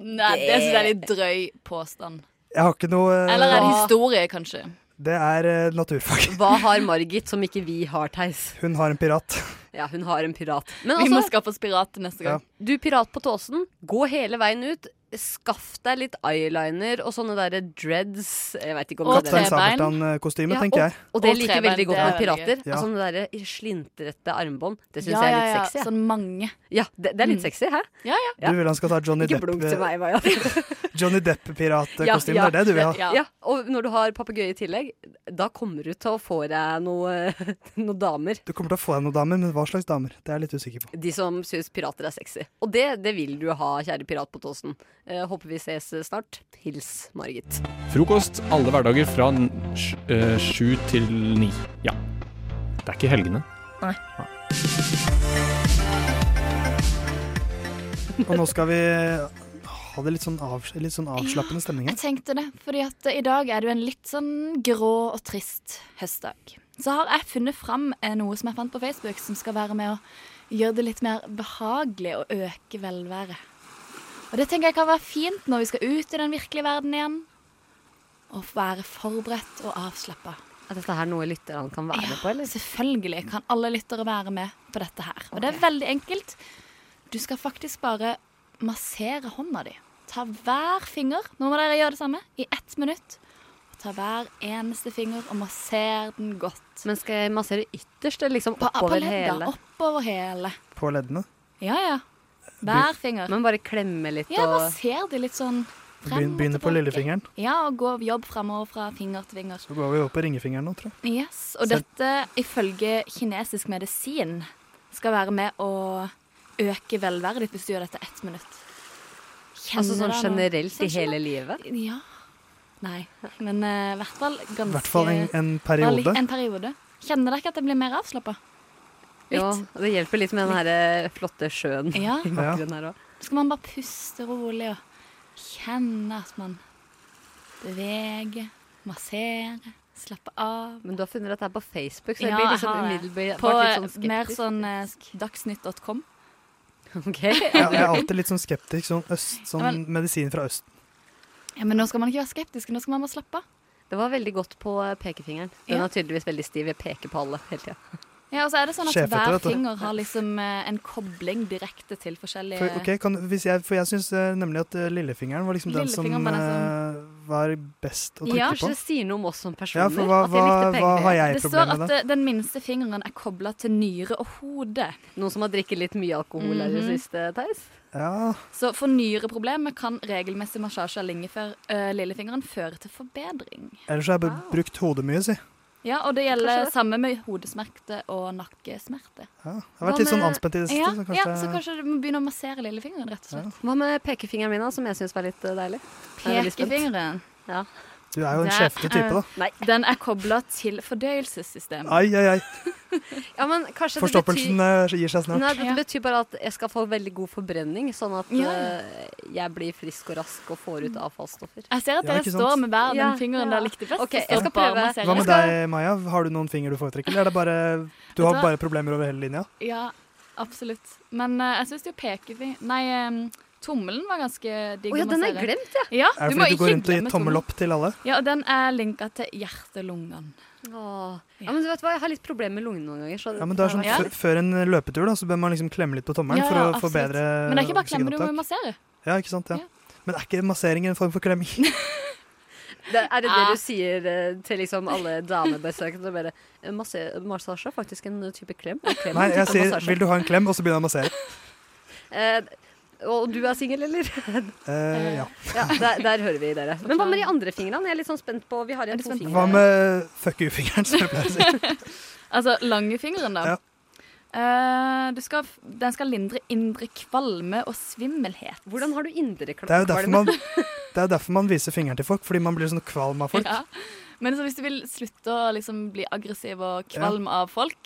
R: Nei, det syns jeg er Ah. litt drøy påstand.
P: Jeg har ikke noe eh,
R: Eller er det historie, kanskje?
P: Det er eh, naturfag.
O: Hva har Margit som ikke vi har, Theis?
P: Hun har en pirat.
O: Ja, hun har en pirat. altså-
R: Vi må skaffe oss pirater neste gang.
O: Du pirat på tåsen, gå hele veien ut. Skaff deg litt eyeliner og sånne derre dreads. Jeg vet ikke om det er
P: Kaptein
O: det.
P: Sabeltann-kostyme,
O: Ja,
P: tenker
O: og,
P: jeg.
O: og det liker jeg veldig godt med pirater. Altså,
P: Ja.
O: Sånne derre slintrete armbånd. Det syns
R: Ja,
O: jeg er
R: ja,
O: litt
R: ja.
O: sexy. jeg.
R: Sånn mange. Mm.
O: Ja, det, det er litt sexy, hæ?
R: Ja, ja.
P: Du vil han skal ta Johnny
O: Ikke blunk til
P: Depp-piratkostyme?
O: meg, Maja.
P: Johnny Depp-piratkostyme, det er det du vil ha?
O: Ja. Og når du har papegøye i tillegg, da kommer du til å få deg noe- noen damer.
P: Du kommer til å få deg noen damer, men hva slags damer? Det er jeg litt usikker på.
O: De som syns pirater er sexy. Og det, det vil du ha, kjære pirat på tåsen. Eh, håper vi ses snart. Hils Margit.
B: Frokost alle hverdager fra n- sj- eh, sju til ni. Ja. Det er ikke helgene.
O: Nei.
P: Og nå skal vi eh, ha det litt sånn, avs litt sånn avslappende stemning
R: Jeg
P: her.
R: tenkte det, fordi at i dag er det jo en litt sånn grå og trist høstdag. Så har jeg funnet fram eh, noe som jeg fant på Facebook, som skal være med å gjøre det litt mer behagelig og øke velværet. Og det tenker jeg kan være fint når vi skal ut i den virkelige verden igjen. Å være forberedt og avslappa.
O: Er dette her noe lytterne kan være med på, eller?
R: Selvfølgelig kan alle lyttere være med på dette her. Og det er veldig enkelt. Du skal faktisk bare massere hånda di. Ta hver finger, nå må dere gjøre det samme, i ett minutt. Og ta hver eneste finger og masser den godt.
O: Men skal jeg massere ytterst, eller liksom
R: på
O: oppover
R: ledda,
O: hele?
R: Oppover hele.
P: På leddene.
R: Ja, ja. Hver finger.
O: Men bare klemme litt
R: Ja,
O: og
R: masser de litt sånn frem
P: Begyn-
R: og
P: Begynner på
R: tilbake.
P: lillefingeren.
R: Ja, og gå jobb fremover fra finger til finger.
P: Så går vi over på ringefingeren nå, tror jeg.
R: Yes, og
P: Selv-
R: dette ifølge kinesisk medisin skal være med å øke velværet ditt hvis du gjør dette ett minutt.
O: Altså sånn
R: Kjenner deg nå-
O: generelt i
R: Sånn
O: hele
R: generelt.
O: livet?
R: Ja. Nei, men eh, i hvert fall ganske
P: hvert fall en- en
R: bare litt-
P: periode.
R: En periode. Kjenner dere ikke at jeg blir mer avslappa? Litt.
O: Ja, og det hjelper litt med den her eh, flotte sjøen
R: Ja.
O: i bakgrunnen her òg.
R: Så skal man bare puste rolig og kjenne at man beveger, masserer, slapper av.
O: Men du har funnet dette her på Facebook, så jeg
R: Ja,
O: blir
R: jeg
O: liksom
R: har det.
O: umiddelbart
R: På
O: litt sånn skeptisk.
R: eh, mer sånn eh, dagsnytt.com.
O: Ok.
P: Jeg, jeg er alltid litt sånn skeptisk. Sånn, øst, sånn
R: Ja, men-
P: medisin fra Østen.
R: Ja, Men nå skal man ikke være skeptisk, nå skal man bare slappe av.
O: Det var veldig godt på eh, pekefingeren. Den
R: Ja.
O: er tydeligvis veldig stiv. Jeg peker på alle hele tida.
R: Ja, og så er det sånn at
P: Sjefete,
R: hver
P: vet du.
R: finger har liksom eh, en kobling direkte til forskjellige
P: For, ok, kan, hvis jeg, for jeg syns nemlig at eh, lillefingeren var liksom den som
R: Lillefingeren var den
P: eh, var best å trykke
O: Ja,
P: på.
O: kanskje det sier noe om oss som
P: Ja,
O: personer.
P: for hva-
O: at jeg likte
P: hva- hva har
O: pekefingeren.
P: jeg
R: Det står at eh, den minste fingeren er kobla til nyre og hode.
O: Noen som har drikket litt mye alkohol her i det
R: Mhm.
O: siste, Theis?
P: Ja.
R: Så for nyreproblemer kan regelmessig massasje av lingefer, eh, lillefingeren føre til forbedring.
P: Ellers har jeg bare brukt hodet mye, si.
R: Ja, og det gjelder
O: Kanskje det.
R: samme med hodesmerte og nakkesmerte.
P: Ja, jeg har vært litt sånn anspent i det siste,
R: Ja,
P: så kanskje
R: ja, så kanskje du må begynne å massere lillefingeren, rett og slett.
O: Hva med pekefingeren min, da, som jeg syns var litt eh, deilig? Jeg er veldig spent.
R: Pekefingeren.
O: Ja.
P: Du er jo en sjefete type, da.
R: Den er kobla til fordøyelsessystemet.
P: Ai, ai, ai.
O: Ja, men kanskje det
P: Forstoppelsen
O: betyr...
P: eh, gir seg
O: Nei,
P: snart.
O: det betyr bare at jeg skal få veldig god forbrenning, sånn at
R: Ja. Mm.
O: eh, jeg blir frisk og rask og får ut avfallsstoffer.
R: Jeg ser at
P: Ja,
R: dere
P: ikke sant?
R: står med hver den
O: Ja, ja.
R: fingeren dere likte best.
O: Ok,
R: og så
O: jeg skal
R: bare
O: prøve.
R: masserer.
P: Hva med deg, Maja? Har du noen finger du foretrekker, eller er det bare Du
R: Vet du
P: har
R: hva?
P: bare problemer over hele linja?
R: Ja, absolutt. Men eh, jeg syns jo pekefing... Nei, em, tommelen var ganske digg
O: Å ja,
R: å
O: den har
R: massere.
O: jeg glemt,
R: ja.
P: Er det
R: du må
P: fordi du
R: ikke
P: går rundt og gir
R: glemme
P: tommel opp til alle?
R: Ja, og den er linka til hjertelungene.
O: Åh. Ja, men du vet hva, Jeg har litt problemer med lungene noen ganger. Så
P: Ja, men det er sånn,
R: Ja.
P: før- Før en løpetur da, så bør man liksom klemme litt på tommelen
R: Ja,
P: for
R: ja,
P: å få
R: absolutt.
P: bedre
R: Men det er ikke bare klemme, du må
P: oksygenopptak.
R: jo massere.
P: Ja, ikke sant, ja. Men er ikke massering en form for klemming?
O: Det, er det det
R: Ah.
O: du sier eh, til liksom alle damebesøkende? Bare, eh, masse- Massasje er faktisk en type klem. En klem er
P: Nei,
O: en
P: jeg
O: type
P: sier
O: massasje.
P: 'vil du ha en klem', og så begynner jeg å massere.
O: Eh, og du er singel, eller?
P: Eh, ja.
O: ja, der, der hører vi dere. Men hva med de andre fingrene? Jeg er litt sånn spent på Vi har igjen to fingre.
P: Hva med fuck you-fingeren, som jeg pleier å si?
R: Altså langfingeren, da.
P: Ja.
R: Eh, du skal, f- den skal lindre indre kvalme og svimmelhet.
O: Hvordan har du indre
P: Det er jo derfor man, det er jo derfor man viser fingeren til folk, fordi man blir sånn kvalm av folk.
R: Ja. Men så hvis du vil slutte å liksom bli aggressiv og kvalm av folk,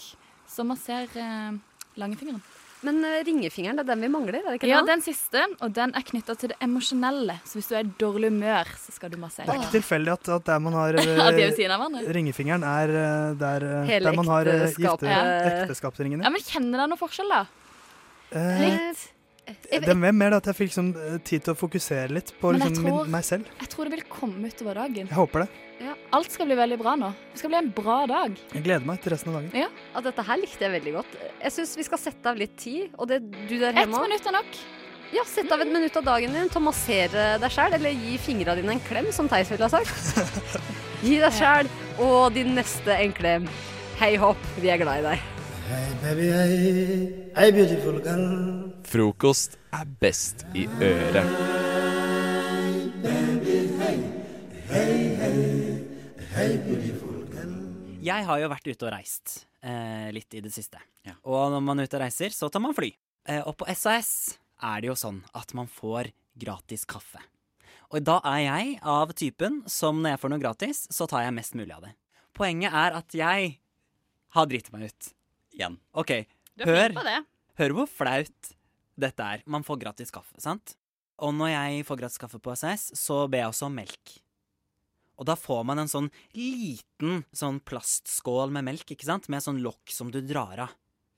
R: så masser eh, langfingeren.
O: Men eh, ringefingeren, det er den vi mangler? er det ikke
R: Ja,
O: det?
R: den siste, og den er knytta til det emosjonelle. Så hvis du er i dårlig humør, så skal du massere.
P: Det er ikke tilfeldig at, at der man har
R: At de er ved
P: eh,
R: siden av hverandre.
P: Ringefingeren er eh, der, eh,
R: Hele
P: der man har eh,
R: ekteskap-
P: gifte-
R: Ja.
P: ekteskapsringen.
R: Ja, men kjenner dere noen forskjell, da?
P: Eh,
R: Litt? jeg-
P: Det er mer mer det at jeg fikk liksom, eh, tid til å fokusere litt på
R: Men jeg
P: liksom,
R: tror-
P: min, meg selv.
R: Jeg tror det vil komme utover dagen.
P: Jeg håper det.
R: Ja, alt skal bli veldig bra nå. Det skal bli en bra dag.
P: Jeg gleder meg til resten av dagen.
R: Ja.
O: Ja, dette her likte jeg veldig godt. Jeg syns vi skal sette av litt tid. Og det du der
R: Ett
O: hjemme
R: minutt er nok.
O: Ja, sett av et minutt av dagen din til å massere deg sjæl, eller gi fingra dine en klem, som Theis ville ha sagt. gi deg sjæl og din neste en klem. Hei hopp, vi er glad i deg.
I: baby, hey, hey, beautiful girl.
A: Frokost er best i øret.
S: Jeg har jo vært ute og reist eh, litt i det siste. Og når man er ute og reiser, så tar man fly. Eh, og på SAS er det jo sånn at man får gratis kaffe. Og da er jeg av typen som når jeg får noe gratis, så tar jeg mest mulig av det. Poenget er at jeg har driti meg ut igjen. OK,
T: Du er
S: hør,
T: flink på det.
S: hør hvor flaut dette er. Man får gratis kaffe, sant? Og når jeg får gratis kaffe på SAS, så ber jeg også om melk. Og da får man en sånn liten sånn plastskål med melk, ikke sant? Med sånn lokk som du drar av.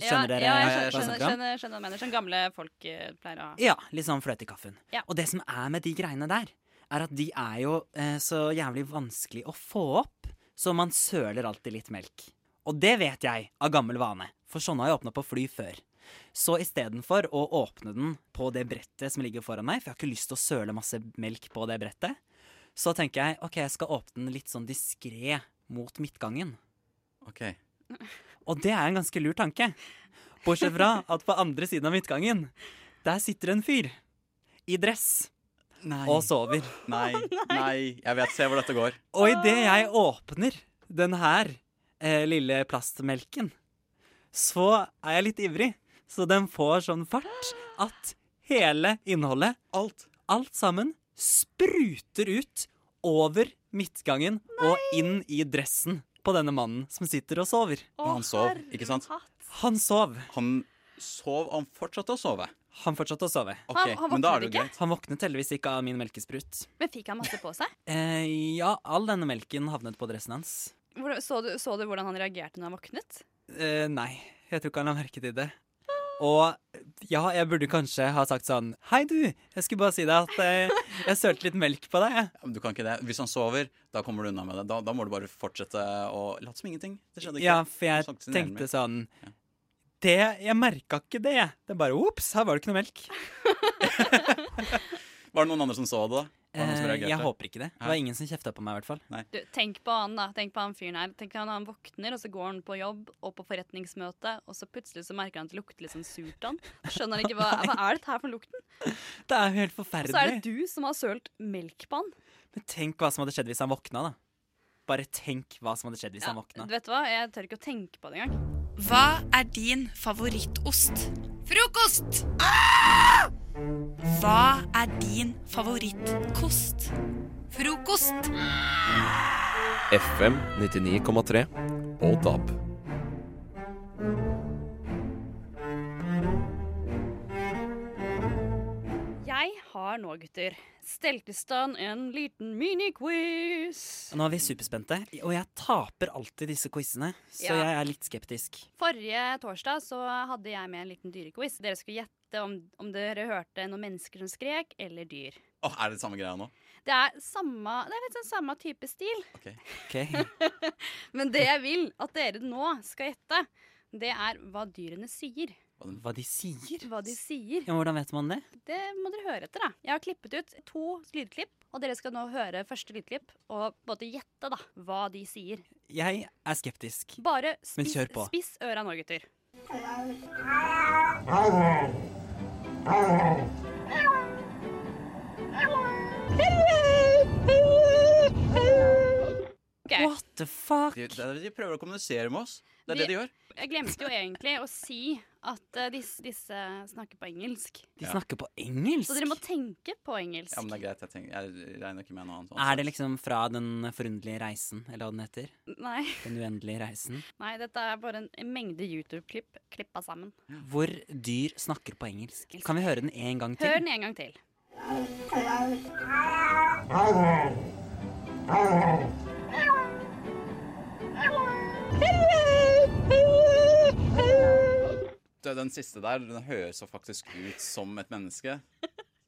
S: Skjønner dere? hva
T: Ja, jeg
S: jeg
T: skjønner,
S: snakker om?
T: skjønner, skjønner hva du mener. Sånn gamle folk eh, pleier å ha.
S: Ja, litt sånn fløte i kaffen.
T: Ja.
S: Og det som er med de greiene der, er at de er jo eh, så jævlig vanskelig å få opp, så man søler alltid litt melk. Og det vet jeg av gammel vane, for sånn har jeg åpna på fly før. Så istedenfor å åpne den på det brettet som ligger foran meg, for jeg har ikke lyst til å søle masse melk på det brettet, så tenker jeg OK, jeg skal åpne den litt sånn diskré mot midtgangen.
U: OK.
S: Og det er en ganske lur tanke. Bortsett fra at på andre siden av midtgangen, der sitter en fyr i dress og sover.
U: Nei, nei, jeg vet. Se hvor dette går.
S: Og idet jeg åpner den her eh, lille plastmelken, så er jeg litt ivrig. Så den får sånn fart at hele innholdet, alt, alt sammen, spruter ut over midtgangen og inn i dressen på denne mannen som sitter og sover.
U: Men han sov, ikke sant?
S: Han sov.
U: Han sov, og han fortsatte å sove.
S: Han fortsatte å sove.
U: Ok, Han- han men da er våknet det jo ikke? greit.
S: Han våknet heldigvis ikke av min melkesprut.
T: Men fikk han masse på seg?
S: Eh, ja, all denne melken havnet på dressen hans.
T: Hvor- Så du, så du hvordan han reagerte når han våknet?
S: Eh, nei, jeg tror ikke han la merke til det. Og ja, jeg burde kanskje ha sagt sånn Hei, du! Jeg skulle bare si deg at eh, jeg sølte litt melk på deg. jeg».
U: Ja, men Du kan ikke det. Hvis han sover, da kommer du unna med det. Da, da må du bare fortsette å late som ingenting. Det skjedde ikke.
S: Ja, for jeg
U: Du snakket til den
S: tenkte
U: ene
S: sånn det, Jeg merka ikke det. jeg. Det er bare ops, her var det ikke noe melk.
U: med. Var det noen andre som så det, da? Var det noen som
S: Eh,
U: reagerte?
S: jeg håper ikke det. Det var
U: Nei.
S: ingen som kjefta på meg, i hvert fall.
T: Du, tenk på han da, tenk på han fyren her. Tenk på han, han våkner, og så går han på jobb og på forretningsmøte, og så plutselig så merker han at det lukter litt sånn surt av han. Da Skjønner han ikke hva, hva er dette her for lukten?
S: Det er jo helt
T: Og så er
S: forferdelig.
T: det du som har sølt melk på han.
S: Men tenk hva som hadde skjedd hvis han våkna, da. Bare tenk hva som hadde skjedd hvis han våkna.
T: Du vet hva, jeg tør ikke å tenke på det engang.
R: Hva er din Ah! favorittost? Frokost! Hva er din favorittkost? Frokost!
A: FM 99,3 og DAB.
T: Jeg har nå, gutter, stelt i stand en liten mini-quiz.
S: Nå er vi superspente, og jeg taper alltid disse quizene, så
T: Ja.
S: jeg er litt skeptisk.
T: Forrige torsdag så hadde jeg med en liten dyrequiz. Dere skulle gjette om, om dere hørte noen mennesker som skrek, eller dyr.
U: Åh, er det samme greia nå?
T: Det er, samme, det er litt sånn samme type stil.
S: Ok.
T: Men det jeg vil at dere nå skal gjette, det er hva dyrene sier.
S: Hva de sier?
T: Hva de sier.
S: Ja, hvordan vet man det?
T: Det må dere høre etter, da. Jeg har klippet ut to lydklipp, og dere skal nå høre første lydklipp og både gjette da, hva de sier.
S: Jeg er skeptisk.
T: Bare
S: Men
T: spiss,
S: kjør på.
T: spiss øra nå, gutter. What
S: the fuck?
U: De, de, de prøver å kommunisere med oss. Det er det de gjør.
T: Jeg glemte jo egentlig å si at eh, disse, disse snakker på engelsk.
S: De snakker på engelsk?
T: Så dere må tenke på engelsk.
U: Ja, men det er greit. Jeg, tenker, jeg regner ikke med noe annet.
S: Er det liksom fra Den forunderlige reisen, eller hva den heter?
T: Nei.
S: Den uendelige reisen.
T: Nei, dette er bare en, en mengde YouTube-klipp klippa sammen.
S: Hvor dyr snakker på engelsk. Kan vi høre den en gang til?
T: Hør den en gang til.
U: Det, eh, den siste der den høres jo faktisk ut som et menneske.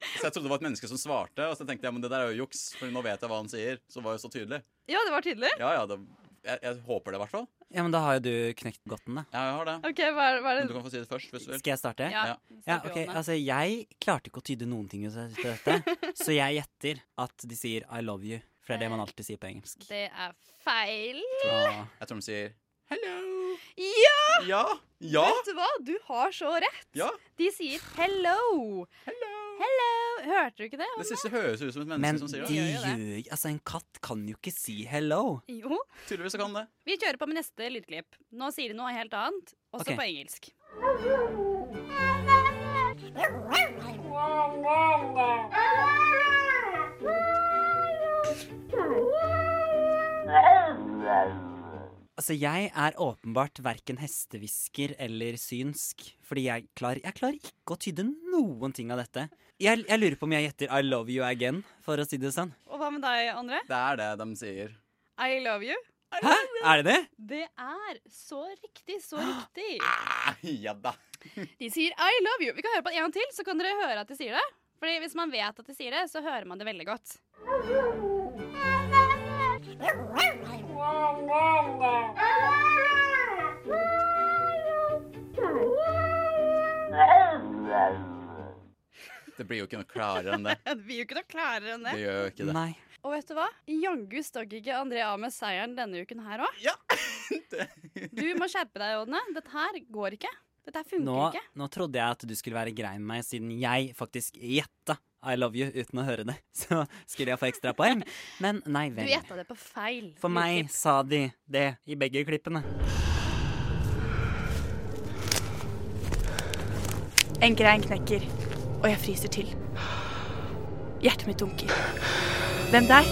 U: Så jeg trodde det var et menneske som svarte, og så tenkte jeg men det der er jo juks, for nå vet jeg hva han sier. Så det var jo så tydelig.
T: Ja, det var tydelig.
U: Ja, ja, det, jeg, jeg håper det, i hvert fall.
S: Ja, men da har jo du knekt godten, da.
U: Ja, jeg har det.
T: Ok, hva er, hva er
U: Men du
T: det?
U: kan få si det først, hvis du vil.
S: Skal jeg starte?
T: Ja,
S: ja
T: snakker
S: ok,
T: vi om det.
S: altså Jeg klarte ikke å tyde noen ting ut av dette, så jeg gjetter at de sier 'I love you', for det er det man alltid sier på engelsk.
T: Det er feil.
U: Jeg tror de sier
T: Ja!
U: Ah. ja! Ja!
T: Vet du hva? Du har så rett.
U: Ja!
T: De sier hello. Hello. Hørte du ikke det?
U: Det siste høres ut som et menneske
S: Men
U: som
S: de
U: sier
T: gjør jo
S: gjør
T: det.
S: Altså, en katt kan jo ikke si 'hello'.
T: Jo.
U: Tydeligvis kan det.
T: Vi kjører på med neste lydklipp. Nå sier de noe helt annet, også
S: Ok.
T: på engelsk.
S: Altså, jeg er åpenbart verken hestehvisker eller synsk, fordi jeg klarer, jeg klarer ikke å tyde noen ting av dette. Jeg, jeg lurer på om jeg gjetter 'I love you again', for å si det sånn.
T: Og hva med deg, André?
U: Det er det de sier.
T: I love you.
S: Er det det?
T: Det er så riktig, så riktig.
U: Ja da.
T: De sier I love you. Vi kan høre på det en gang til, så kan dere høre at de sier det. Fordi hvis man vet at de sier det, så hører man det veldig godt.
U: Det blir jo ikke noe klarere enn det.
T: Det blir jo ikke noe klarere enn det.
U: Det gjør jo ikke det.
S: Nei.
T: Og vet du hva? Jaggu stagg ikke André av med seieren denne uken her òg. du må skjerpe deg, Ådne. Dette her går ikke. Dette her funker
S: Nå,
T: ikke.
S: nå trodde jeg at du skulle være grei med meg, siden jeg faktisk gjetta 'I love you' uten å høre det. Så skulle jeg få ekstra poeng. Men nei
T: Du
S: vel.
T: gjetta det på feil.
S: For meg
T: utklipp.
S: sa de det i begge klippene.
R: En grein knekker, og jeg fryser til. Hjertet mitt dunker. Hvem der?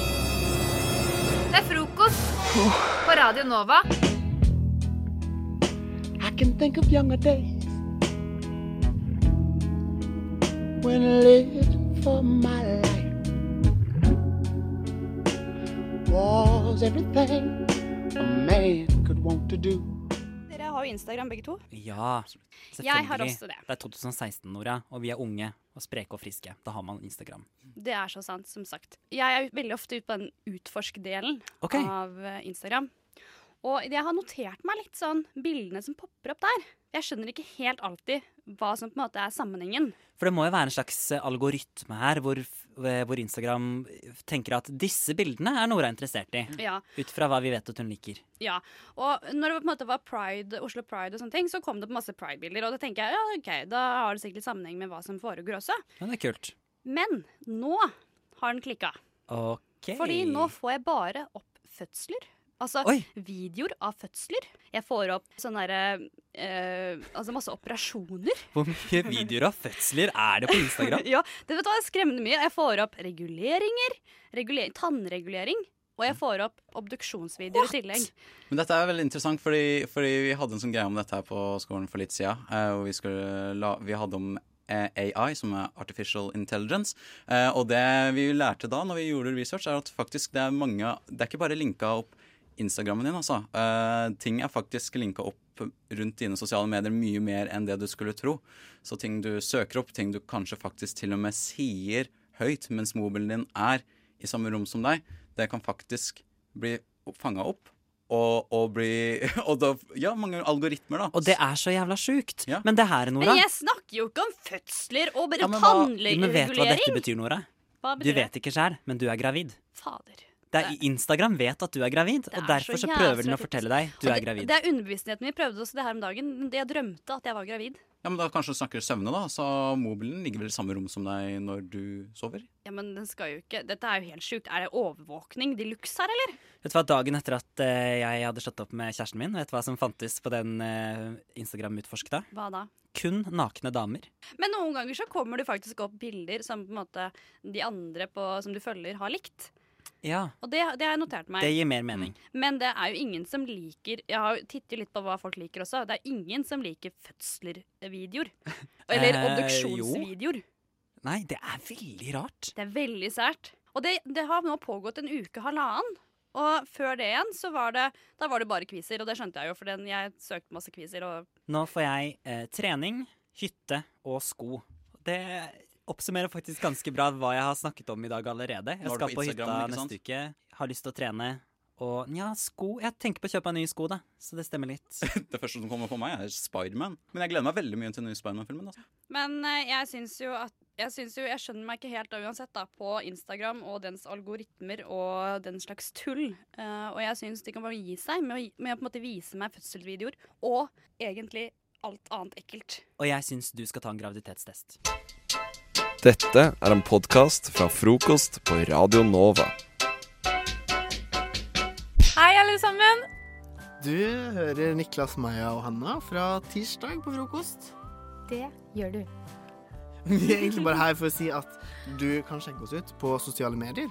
M: Det er frokost på Radio Nova.
F: I can think of younger days when I lived for my life. Was everything a man could want to do.
T: Dere har jo Instagram, begge to.
S: Ja, selvfølgelig.
T: Jeg har også det.
S: er 2016, Nora, og vi er unge og spreke og friske. Da har man Instagram.
T: Det er så sant, som sagt. Jeg er veldig ofte ute på den utforsk-delen
S: Ok.
T: av eh, Instagram. Og jeg har notert meg litt sånn bildene som popper opp der. Jeg skjønner ikke helt alltid hva som på en måte er sammenhengen.
S: For det må jo være en slags eh, algoritme her, hvor, f- eh, hvor Instagram tenker at disse bildene er Nora interessert i.
T: Ja.
S: Ut fra hva vi vet at hun liker.
T: Ja, og når det på en måte var Pride, Oslo Pride og sånne ting, så kom det på masse Pride-bilder, og da tenker jeg, ja, ok, da har det sikkert litt sammenheng med hva som foregår også.
S: Ja, det er kult.
T: Men nå har den klikket.
S: OK.
T: Fordi nå får jeg bare opp fødsler. Altså videoer av fødsler. Jeg får opp sånne der, eh, altså masse operasjoner.
S: Hvor mye videoer av fødsler er det på Instagram?
T: ja, det vet du hva, det skremmer mye. Jeg får opp reguleringer, reguler tannregulering, og jeg får opp obduksjonsvideoer i tillegg.
U: Men dette er veldig interessant, fordi, fordi vi hadde en sånn greie om dette her på skolen for litt siden. eh, og vi, skulle la, vi hadde om eh, AI, som er Artificial Intelligence. eh, og det vi lærte da når vi gjorde research, er at faktisk det er mange Det er ikke bare linka opp Instagrammen din, altså. Eh, ting er faktisk linka opp rundt dine sosiale medier mye mer enn det du skulle tro. Så ting du søker opp, ting du kanskje faktisk til og med sier høyt mens mobilen din er i samme rom som deg, det kan faktisk bli fanga opp og, og bli Og da Ja, mange algoritmer, da.
S: Og det er så jævla sjukt. Men det her, Nora
T: Men jeg snakker jo ikke om fødsler og bare
S: Ja, men hva-
T: tannregulering.
S: Men vet du hva dette betyr, Nora?
T: Hva
S: du
T: betyr
S: vet ikke sjæl, men du er gravid.
T: Fader.
S: Det er, Instagram vet at du er gravid, og
T: er så
S: derfor så
T: jævla
S: prøver den å
T: typisk.
S: fortelle deg du
T: Og
S: er
T: det-
S: gravid.
T: Det er underbevisstheten min. Vi prøvde også det her om dagen. Jeg drømte at jeg var gravid.
U: Ja, men da kanskje du snakker søvne, da. Så mobilen ligger vel i samme rom som deg når du sover?
T: Ja, men den skal jo ikke Dette er jo helt sjukt. Er det overvåkning de luxe her, eller?
S: Vet du hva, Dagen etter at eh, jeg hadde slått opp med kjæresten min, vet du hva som fantes på den eh, Instagram-utforskta?
T: Hva da?
S: Kun nakne damer.
T: Men noen ganger så kommer det faktisk opp bilder som på en måte de andre på, som du følger, har likt.
S: Ja,
T: Og det, det har jeg notert meg.
S: det gir mer mening.
T: Men det er jo ingen som liker Jeg har jo tittet litt på hva folk liker også. Det er ingen som liker fødsler-videoer. Eller
S: Eh,
T: obduksjonsvideoer.
S: Nei, det er veldig rart.
T: Det er veldig sært. Og det, det har nå pågått en uke halvannen. Og før det igjen, så var det, da var det bare quizer, og det skjønte jeg jo, for den, jeg søkte masse quizer. Og
S: Nå får jeg eh, trening, hytte og sko. Det oppsummerer faktisk ganske bra hva jeg har snakket om i dag allerede. Jeg
U: Var det
S: skal
U: på
S: på, hytta
U: Instagram, ikke sant?
S: neste uke, har lyst til å trene. Og nja, sko Jeg tenker på å kjøpe meg nye sko, da. Så det stemmer litt.
U: Det første som kommer på meg, er Spiderman. Men jeg gleder meg veldig mye til den nye Spiderman-filmen. Altså.
T: Men eh, jeg syns jo at jeg, synes jo, jeg skjønner meg ikke helt da uansett da, på Instagram og dens algoritmer og den slags tull. Eh, og jeg syns de kan bare gi seg med å, gi- med å på en måte vise meg fødselsvideoer og egentlig alt annet ekkelt.
S: Og jeg syns du skal ta en graviditetstest.
A: Dette er en podkast fra frokost på Radio Nova.
K: Hei, alle sammen.
J: Du hører Niklas, Maja og Hanna fra tirsdag på frokost.
H: Det gjør du.
J: Vi er egentlig bare her for å si at du kan sjekke oss ut på sosiale medier.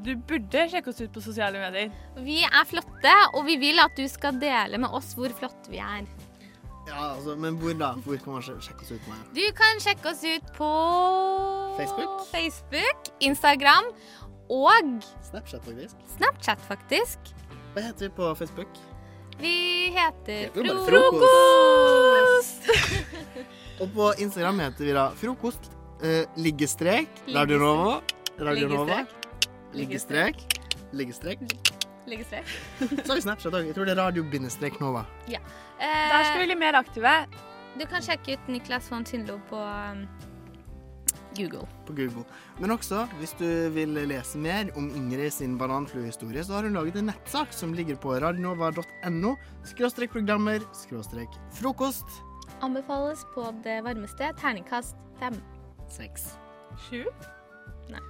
K: Du burde sjekke oss ut på sosiale medier.
M: Vi er flotte, og vi vil at du skal dele med oss hvor flotte vi er.
J: Ja, altså, Men hvor da? Hvor kan man sj- sjekke oss ut? Maja?
M: Du kan sjekke oss ut på
J: Facebook?
M: Facebook, Instagram og
J: Snapchat, faktisk.
M: Snapchat, faktisk.
J: Hva heter vi på Facebook?
M: Vi heter
J: Vi heter jo bare
M: Frokost!
J: Og på Instagram heter vi da frokost, eh, liggestrek, Radio Nova, Radio Nova, liggestrek, liggestrek.
T: Liggestrek.
J: Så har vi Snapchat òg. Jeg tror det er radio-bindestrek Nova.
M: Ja.
K: Der skal vi bli mer aktive.
M: Du kan sjekke ut Niklas von Tindlo på um, Google.
J: på Google. Men også, hvis du vil lese mer om Ingrid sin bananfluehistorie, så har hun laget en nettsak som ligger på radionova.no skråstrek programmer skråstrek frokost.
M: Anbefales på det varmeste terningkast fem.
J: Seks.
M: Sju? Nei.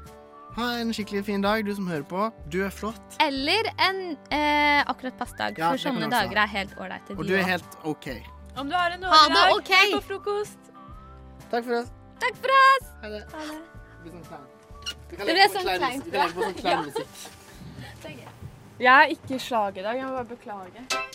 J: Ha en skikkelig fin dag, du som hører på. Du er flott,
M: Eller en eh, akkurat passdag,
J: Ja,
M: for
J: det kan
M: sånne
J: også ha.
M: dager er helt ålreite.
J: og
M: de
J: du er
M: også.
J: helt OK.
K: Om du har en
M: Ha
K: dårlig
M: det
K: dag,
M: ok.
K: hør på frokost.
J: Takk for oss.
M: Takk for oss!
J: Ha det.
M: Det ble sånn kleint.
J: Vi kan legge på sånn klein musikk.
K: Jeg er ikke i slag i dag. Jeg må bare beklage.